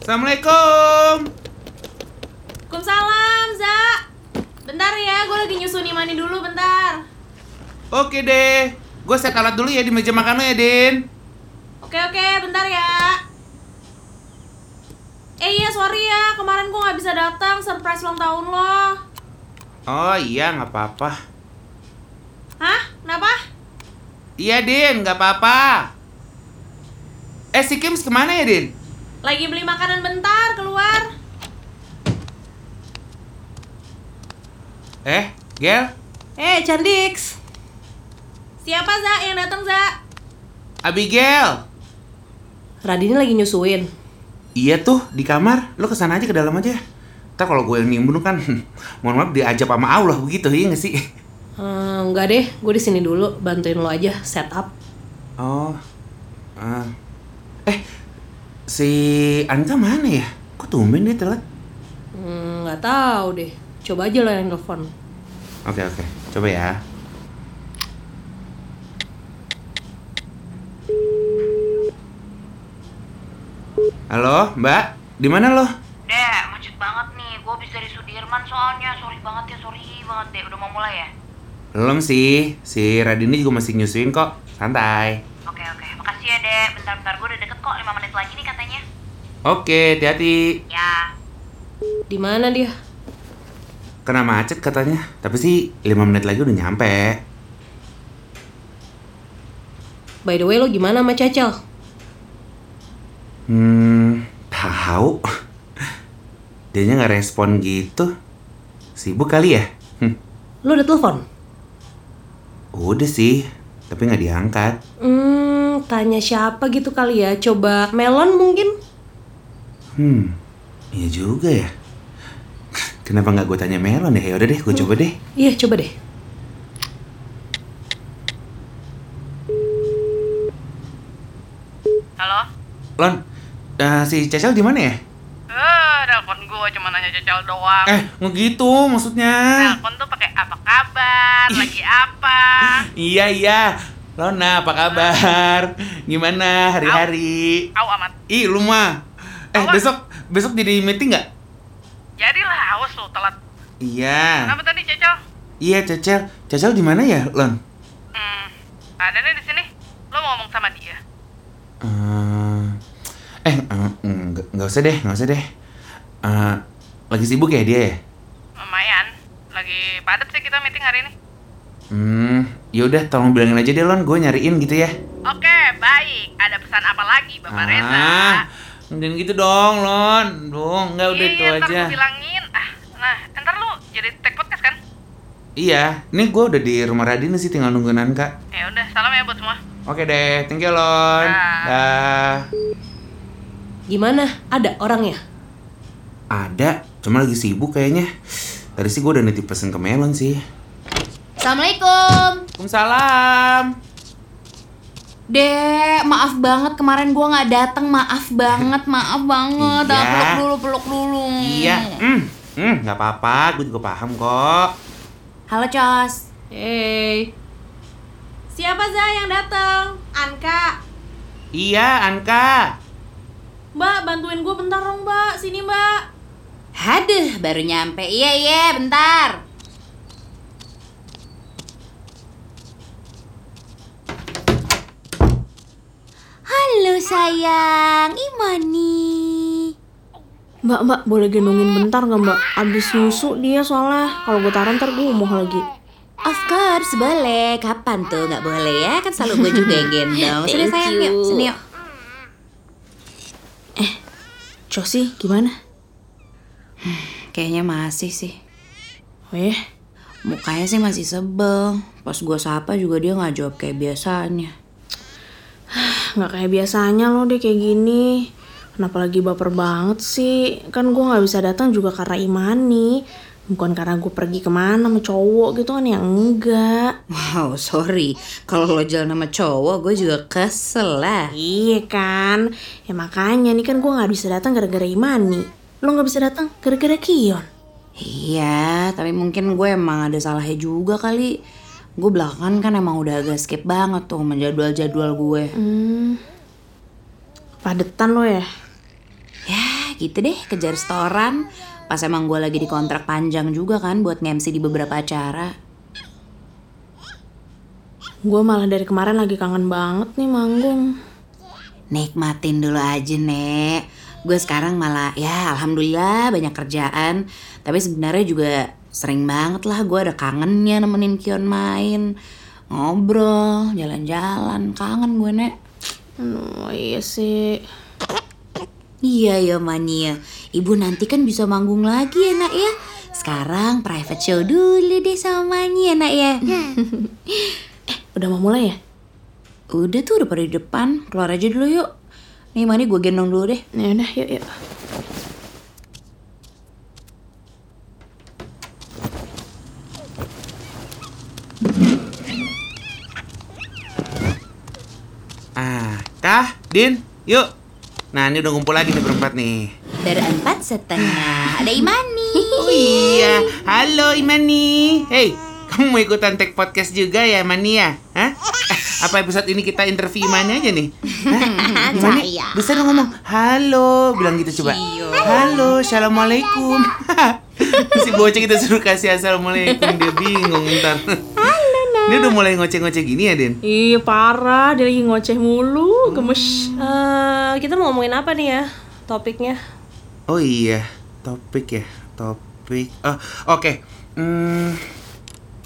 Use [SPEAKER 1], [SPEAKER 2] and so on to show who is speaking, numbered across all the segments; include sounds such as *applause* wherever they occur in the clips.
[SPEAKER 1] Assalamualaikum.
[SPEAKER 2] Waalaikumsalam, Za. Bentar ya, gue lagi nyusun Imani dulu, bentar.
[SPEAKER 1] Oke deh. Gue set alat dulu ya di meja makan lo ya, Din.
[SPEAKER 2] Oke, oke, bentar ya. Eh iya, sorry ya. Kemarin gue nggak bisa datang surprise ulang tahun lo.
[SPEAKER 1] Oh iya, nggak apa-apa.
[SPEAKER 2] Hah? Kenapa?
[SPEAKER 1] Iya, Din, nggak apa-apa. Eh, si Kims kemana ya, Din?
[SPEAKER 2] Lagi beli makanan bentar, keluar.
[SPEAKER 1] Eh, Gel?
[SPEAKER 3] Eh, Candix.
[SPEAKER 2] Siapa, Za, yang datang, Za?
[SPEAKER 1] Abigail?
[SPEAKER 3] Radini lagi nyusuin.
[SPEAKER 1] Iya tuh, di kamar. Lo kesana aja ke dalam aja. Ntar kalau gue yang nimbun kan, *laughs* mohon maaf diajak sama Allah begitu, iya nggak sih?
[SPEAKER 3] Eh, enggak deh, gue di sini dulu bantuin lo aja setup.
[SPEAKER 1] Oh. ah. Eh, si Anita mana ya? Kok tumben dia telat?
[SPEAKER 3] Hmm, nggak tahu deh. Coba aja lo yang telepon.
[SPEAKER 1] Oke, oke. Coba ya. Halo, Mbak. Di mana lo?
[SPEAKER 4] Dek, macet banget nih. Gue habis dari Sudirman soalnya. Sorry banget ya, sorry banget deh. Udah mau mulai ya?
[SPEAKER 1] Belum sih. Si Radini juga masih nyusuin kok. Santai.
[SPEAKER 4] Oke, oke. Makasih ya, Dek. Bentar-bentar gue udah deket kok. 5 menit lagi nih katanya.
[SPEAKER 1] Oke, hati-hati.
[SPEAKER 4] Ya,
[SPEAKER 3] Di mana dia?
[SPEAKER 1] Kena macet katanya. Tapi sih 5 menit lagi udah nyampe.
[SPEAKER 3] By the way, lo gimana sama Cecel?
[SPEAKER 1] Hmm, tahu. Dianya nggak respon gitu. Sibuk kali ya? Hm,
[SPEAKER 3] Lo udah telepon?
[SPEAKER 1] udah sih, tapi nggak diangkat.
[SPEAKER 3] Hmm, tanya siapa gitu kali ya. Coba Melon mungkin?
[SPEAKER 1] Hmm, iya juga ya. Kenapa nggak gue tanya Melon ya? Ya udah deh, gue coba deh.
[SPEAKER 3] Iya, coba deh.
[SPEAKER 4] halo?
[SPEAKER 1] Lon, eh, si Cecel di mana ya?
[SPEAKER 4] Eh, telepon gue cuma nanya cecel doang.
[SPEAKER 1] Eh, nggak gitu maksudnya.
[SPEAKER 4] Telepon tuh pakai apa kabar? Lagi apa?
[SPEAKER 1] Iya iya. Lona, apa kabar? Gimana hari-hari?
[SPEAKER 4] Au amat.
[SPEAKER 1] Ih, lu mah. Eh,
[SPEAKER 4] Apa?
[SPEAKER 1] besok besok jadi meeting nggak?
[SPEAKER 4] Jadilah awas lu telat.
[SPEAKER 1] Iya.
[SPEAKER 4] tadi cecel?
[SPEAKER 1] Iya, Cecel. Cecel di mana ya, Lon?
[SPEAKER 4] Hmm, ada nih di sini. Lo mau ngomong sama dia?
[SPEAKER 1] Eh, eh, eh, nggak nggak usah deh, nggak usah deh. Eh, lagi sibuk ya dia ya?
[SPEAKER 4] Lumayan. Lagi padat sih kita meeting hari ini.
[SPEAKER 1] Hmm, yaudah tolong bilangin aja deh Lon, gue nyariin gitu ya.
[SPEAKER 4] Oke, baik. Ada pesan apa lagi, Bapak Reza?
[SPEAKER 1] jangan Ah, gitu dong Lon, dong nggak udah
[SPEAKER 4] Iya,
[SPEAKER 1] itu
[SPEAKER 4] iya, ntar
[SPEAKER 1] aja.
[SPEAKER 4] gua bilangin. Ah, nah, ntar lu jadi tag podcast kan?
[SPEAKER 1] Iya, ini gue udah di rumah Radini sih tinggal nungguin Anka.
[SPEAKER 4] Ya udah, salam ya buat semua.
[SPEAKER 1] Oke deh, thank you Lon.
[SPEAKER 4] Dah.
[SPEAKER 1] Dah.
[SPEAKER 3] Gimana? Ada orangnya?
[SPEAKER 1] Ada, cuma lagi sibuk kayaknya. Tadi sih gue udah nitip pesen ke Melon sih.
[SPEAKER 5] Assalamualaikum.
[SPEAKER 1] Waalaikumsalam.
[SPEAKER 5] Dek, maaf banget kemarin gua nggak datang. Maaf banget, maaf
[SPEAKER 4] Oh,
[SPEAKER 5] banget.
[SPEAKER 1] Iya.
[SPEAKER 5] Ah, peluk dulu, peluk dulu.
[SPEAKER 1] Iya, hmm, hmm, nggak apa-apa, gue juga paham kok.
[SPEAKER 5] Halo, Cos.
[SPEAKER 3] Hey.
[SPEAKER 2] Siapa, Za, yang datang? Anka.
[SPEAKER 1] Iya, Anka.
[SPEAKER 2] Mbak, bantuin gue bentar dong, Mbak. Sini, Mbak.
[SPEAKER 5] Haduh, baru nyampe. Iya, iya, bentar. Halo sayang, Imani.
[SPEAKER 6] Mbak, mbak, boleh gendongin bentar nggak mbak? Abis nyusu dia soalnya Kalau gue taruh ntar gue mau lagi
[SPEAKER 5] Of course, boleh. Kapan tuh? Nggak boleh ya? Kan selalu gue juga yang
[SPEAKER 7] *laughs*
[SPEAKER 5] gendong. Sini sayang, yuk. Sini yuk.
[SPEAKER 6] Cosi, gimana?
[SPEAKER 7] Kayaknya masih sih.
[SPEAKER 6] Eh,
[SPEAKER 7] Mukanya sih masih sebel. Pas gue sapa juga dia nggak jawab kayak biasanya. *laughs*
[SPEAKER 6] nggak kayak biasanya loh deh kayak gini Kenapa lagi baper banget sih? Kan gue nggak bisa datang juga karena Imani Bukan karena gue pergi kemana sama cowok gitu kan ya enggak
[SPEAKER 7] Wow, sorry. Kalau lo jalan sama cowok, gue juga kesel lah.
[SPEAKER 6] Iya kan? Ya makanya nih kan gue nggak bisa datang gara-gara Imani Lo nggak bisa datang gara-gara Kion
[SPEAKER 7] Iya, tapi mungkin gue emang ada salahnya juga kali. Gue belakangan kan emang udah agak skip banget tuh sama jadwal-jadwal gue.
[SPEAKER 6] Hmm, padetan lo ya?
[SPEAKER 7] Ya, gitu deh kerja restoran. Pas emang gue lagi di kontrak panjang juga kan buat nge-MC di beberapa acara.
[SPEAKER 6] Gue malah dari kemarin lagi kangen banget nih manggung.
[SPEAKER 7] Nikmatin dulu aja, Nek. Gue sekarang malah ya alhamdulillah banyak kerjaan. Tapi sebenarnya juga sering banget lah gue ada kangennya nemenin Kion main. Ngobrol, jalan-jalan, kangen gue, Nek.
[SPEAKER 6] Aduh, iya sih.
[SPEAKER 7] Iya ya mania, ibu nanti kan bisa manggung lagi ya nak ya Sekarang private show dulu deh sama mania nak ya
[SPEAKER 6] Udah mau mulai ya?
[SPEAKER 7] Udah tuh udah pada di depan, keluar aja dulu yuk Nih mani gue gendong dulu deh
[SPEAKER 6] Ya udah, yuk yuk.
[SPEAKER 1] Ah, Kah, Din, yuk. Nah, ini udah ngumpul lagi nih berempat nih.
[SPEAKER 5] Berempat setengah. Ada
[SPEAKER 7] *laughs*
[SPEAKER 5] Imani.
[SPEAKER 1] Oh iya, halo Imani. Hey, kamu mau ikutan tag podcast juga ya, Imani ya? Hah? *laughs* Eh, Apa episode ini kita interview Imani aja nih? Hah? Imani,
[SPEAKER 5] Saya.
[SPEAKER 1] bisa dong ngomong halo, bilang gitu coba. Halo, assalamualaikum. *laughs* si bocah kita suruh kasih assalamualaikum dia bingung ntar. Ini udah mulai ngoceh-ngoceh gini ya, Din?
[SPEAKER 6] Iya parah, dia lagi ngoceh mulu, gemes.
[SPEAKER 3] Eh, kita mau ngomongin apa nih ya topiknya?
[SPEAKER 1] Oh iya, topik ya, topik. Oh, oke. Hmm,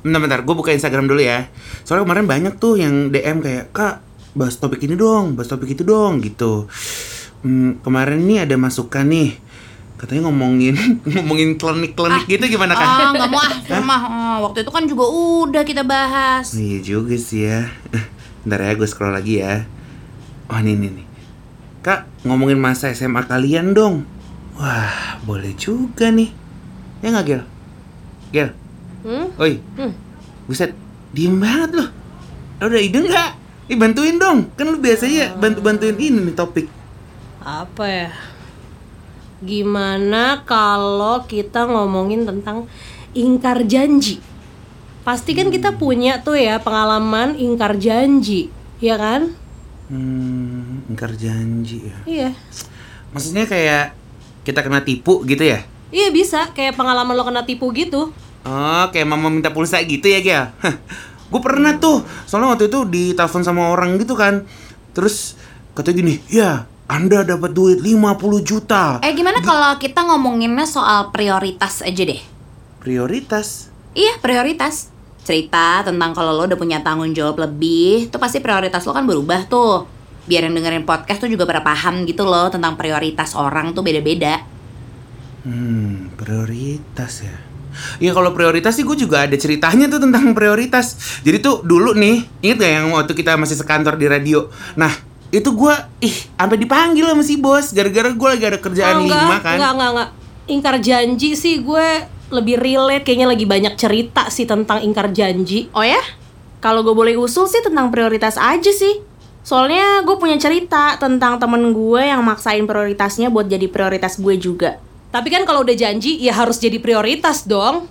[SPEAKER 1] bentar, bentar. Gue buka Instagram dulu ya. Soalnya kemarin banyak tuh yang DM kayak kak bahas topik ini dong, bahas topik itu dong, gitu. Hmm, kemarin nih ada masukan nih. Katanya ngomongin *laughs* ngomongin klinik-klinik gitu gimana kak?
[SPEAKER 7] Ah nggak mau ah, mah waktu itu kan juga udah kita bahas
[SPEAKER 1] Iya juga sih ya. Bentar ya, gue scroll lagi ya. Oh, ini nih nih. Kak, ngomongin masa SMA kalian dong. Wah, boleh juga nih. Ya nggak, Gel? Gel?
[SPEAKER 3] Hmm?
[SPEAKER 1] Oi. Buset, diem banget loh. Lo udah ide nggak? Ih, bantuin dong. Kan lu biasanya
[SPEAKER 3] Oh.
[SPEAKER 1] bantu-bantuin ini nih topik.
[SPEAKER 3] Apa ya? Gimana kalau kita ngomongin tentang ingkar janji? Pasti kan
[SPEAKER 6] Hmm.
[SPEAKER 3] kita punya tuh ya pengalaman ingkar janji, ya kan?
[SPEAKER 1] Hmm, ingkar janji ya.
[SPEAKER 3] Iya.
[SPEAKER 1] Maksudnya kayak kita kena tipu gitu ya?
[SPEAKER 3] Iya bisa, kayak pengalaman lo kena tipu gitu.
[SPEAKER 1] Oh, kayak mama minta pulsa gitu ya, Gel? gue pernah
[SPEAKER 3] Hmm.
[SPEAKER 1] tuh, soalnya waktu itu ditelepon sama orang gitu kan. Terus katanya gini, ya Anda dapat duit 50 juta.
[SPEAKER 7] Eh gimana kalau kita ngomonginnya soal prioritas aja deh
[SPEAKER 1] Prioritas.
[SPEAKER 7] Iya prioritas Cerita tentang kalau lo udah punya tanggung jawab lebih Tuh pasti prioritas lo kan berubah tuh Biar yang dengerin podcast tuh juga pada paham gitu loh Tentang prioritas orang tuh beda-beda
[SPEAKER 1] Hmm, prioritas ya. Ya kalau prioritas sih gue juga ada ceritanya tuh tentang prioritas. Jadi tuh dulu nih, inget gak yang waktu kita masih sekantor di radio? Nah, itu gue, ih, sampai dipanggil sama si bos gara-gara gue lagi ada kerjaan
[SPEAKER 3] Oh, enggak,
[SPEAKER 1] lima kan.
[SPEAKER 3] enggak, enggak, enggak. Ingkar janji sih gue lebih relate kayaknya lagi banyak cerita sih tentang ingkar janji.
[SPEAKER 6] Oh ya? Kalau gue boleh usul sih tentang prioritas aja sih. Soalnya gue punya cerita tentang temen gue yang maksain prioritasnya buat jadi prioritas gue juga.
[SPEAKER 3] Tapi kan kalau udah janji ya harus jadi prioritas dong.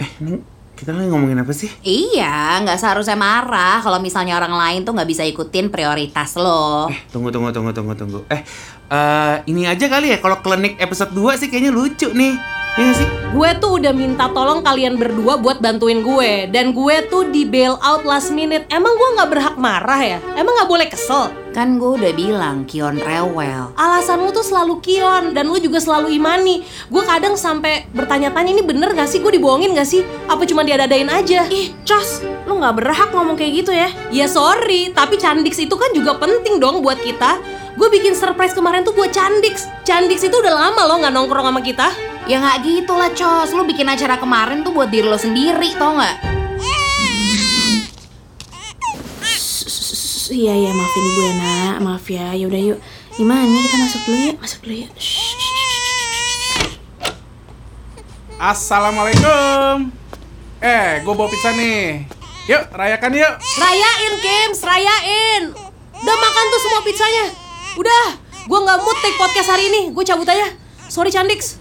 [SPEAKER 1] Eh, ini kita lagi ngomongin apa sih?
[SPEAKER 7] Iya, nggak seharusnya marah kalau misalnya orang lain tuh nggak bisa ikutin prioritas lo.
[SPEAKER 1] Eh, tunggu tunggu tunggu tunggu tunggu. Eh, eh, ini aja kali ya kalau klinik episode 2 sih kayaknya lucu nih. Iya nggak sih?
[SPEAKER 3] Gue tuh udah minta tolong kalian berdua buat bantuin gue dan gue tuh di bail out last minute. Emang gue nggak berhak marah ya? Emang nggak boleh kesel?
[SPEAKER 7] Kan gue udah bilang Kion rewel.
[SPEAKER 3] Alasan lu tuh selalu kion dan lu juga selalu imani. Gue kadang sampai bertanya-tanya ini bener gak sih gue dibohongin gak sih? Apa cuma diadadain aja?
[SPEAKER 6] Ih, Cos, lu nggak berhak ngomong kayak gitu ya.
[SPEAKER 3] Ya sorry, tapi Candix itu kan juga penting dong buat kita. Gue bikin surprise kemarin tuh buat Candix. Candix itu udah lama loh nggak nongkrong sama kita.
[SPEAKER 7] Ya nggak gitu lah, Cos. Lu bikin acara kemarin tuh buat diri lo sendiri, tau nggak?
[SPEAKER 6] Iya iya maafin gue ya nak, maaf ya. Yaudah yuk. Gimana nih kita masuk dulu yuk, masuk dulu yuk. Shh, shh, shh.
[SPEAKER 8] Assalamualaikum. Eh, gue bawa pizza nih. Yuk, rayakan yuk.
[SPEAKER 3] Rayain, Kims, rayain. Udah makan tuh semua pizzanya. Udah, gue nggak mood take podcast hari ini. Gue cabut aja. Sorry Candix.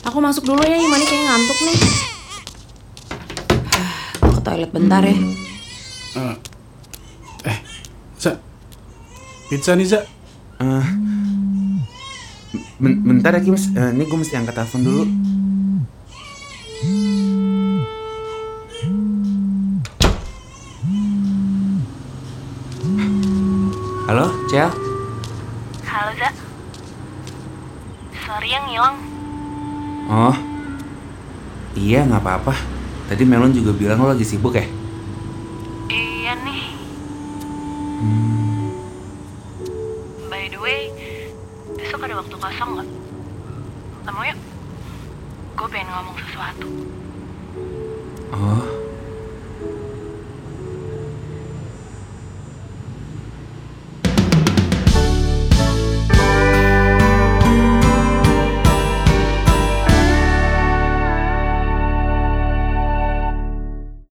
[SPEAKER 6] Aku masuk dulu ya, Imani kayak ngantuk nih.
[SPEAKER 7] Gua Ke toilet bentar ya.
[SPEAKER 8] Za, pizza nih Za.
[SPEAKER 1] Eh, Ben- bentar ya Kim, Eh, ini gue mesti angkat telepon dulu. Halo, Cel?
[SPEAKER 4] Halo, Za. Sorry yang hilang.
[SPEAKER 1] Oh, iya nggak apa-apa. Tadi Melon juga bilang lo lagi sibuk ya?
[SPEAKER 4] Iya nih. By the way, besok ada waktu kosong nggak? Ketemu yuk. Gue pengen ngomong sesuatu.
[SPEAKER 1] Oh,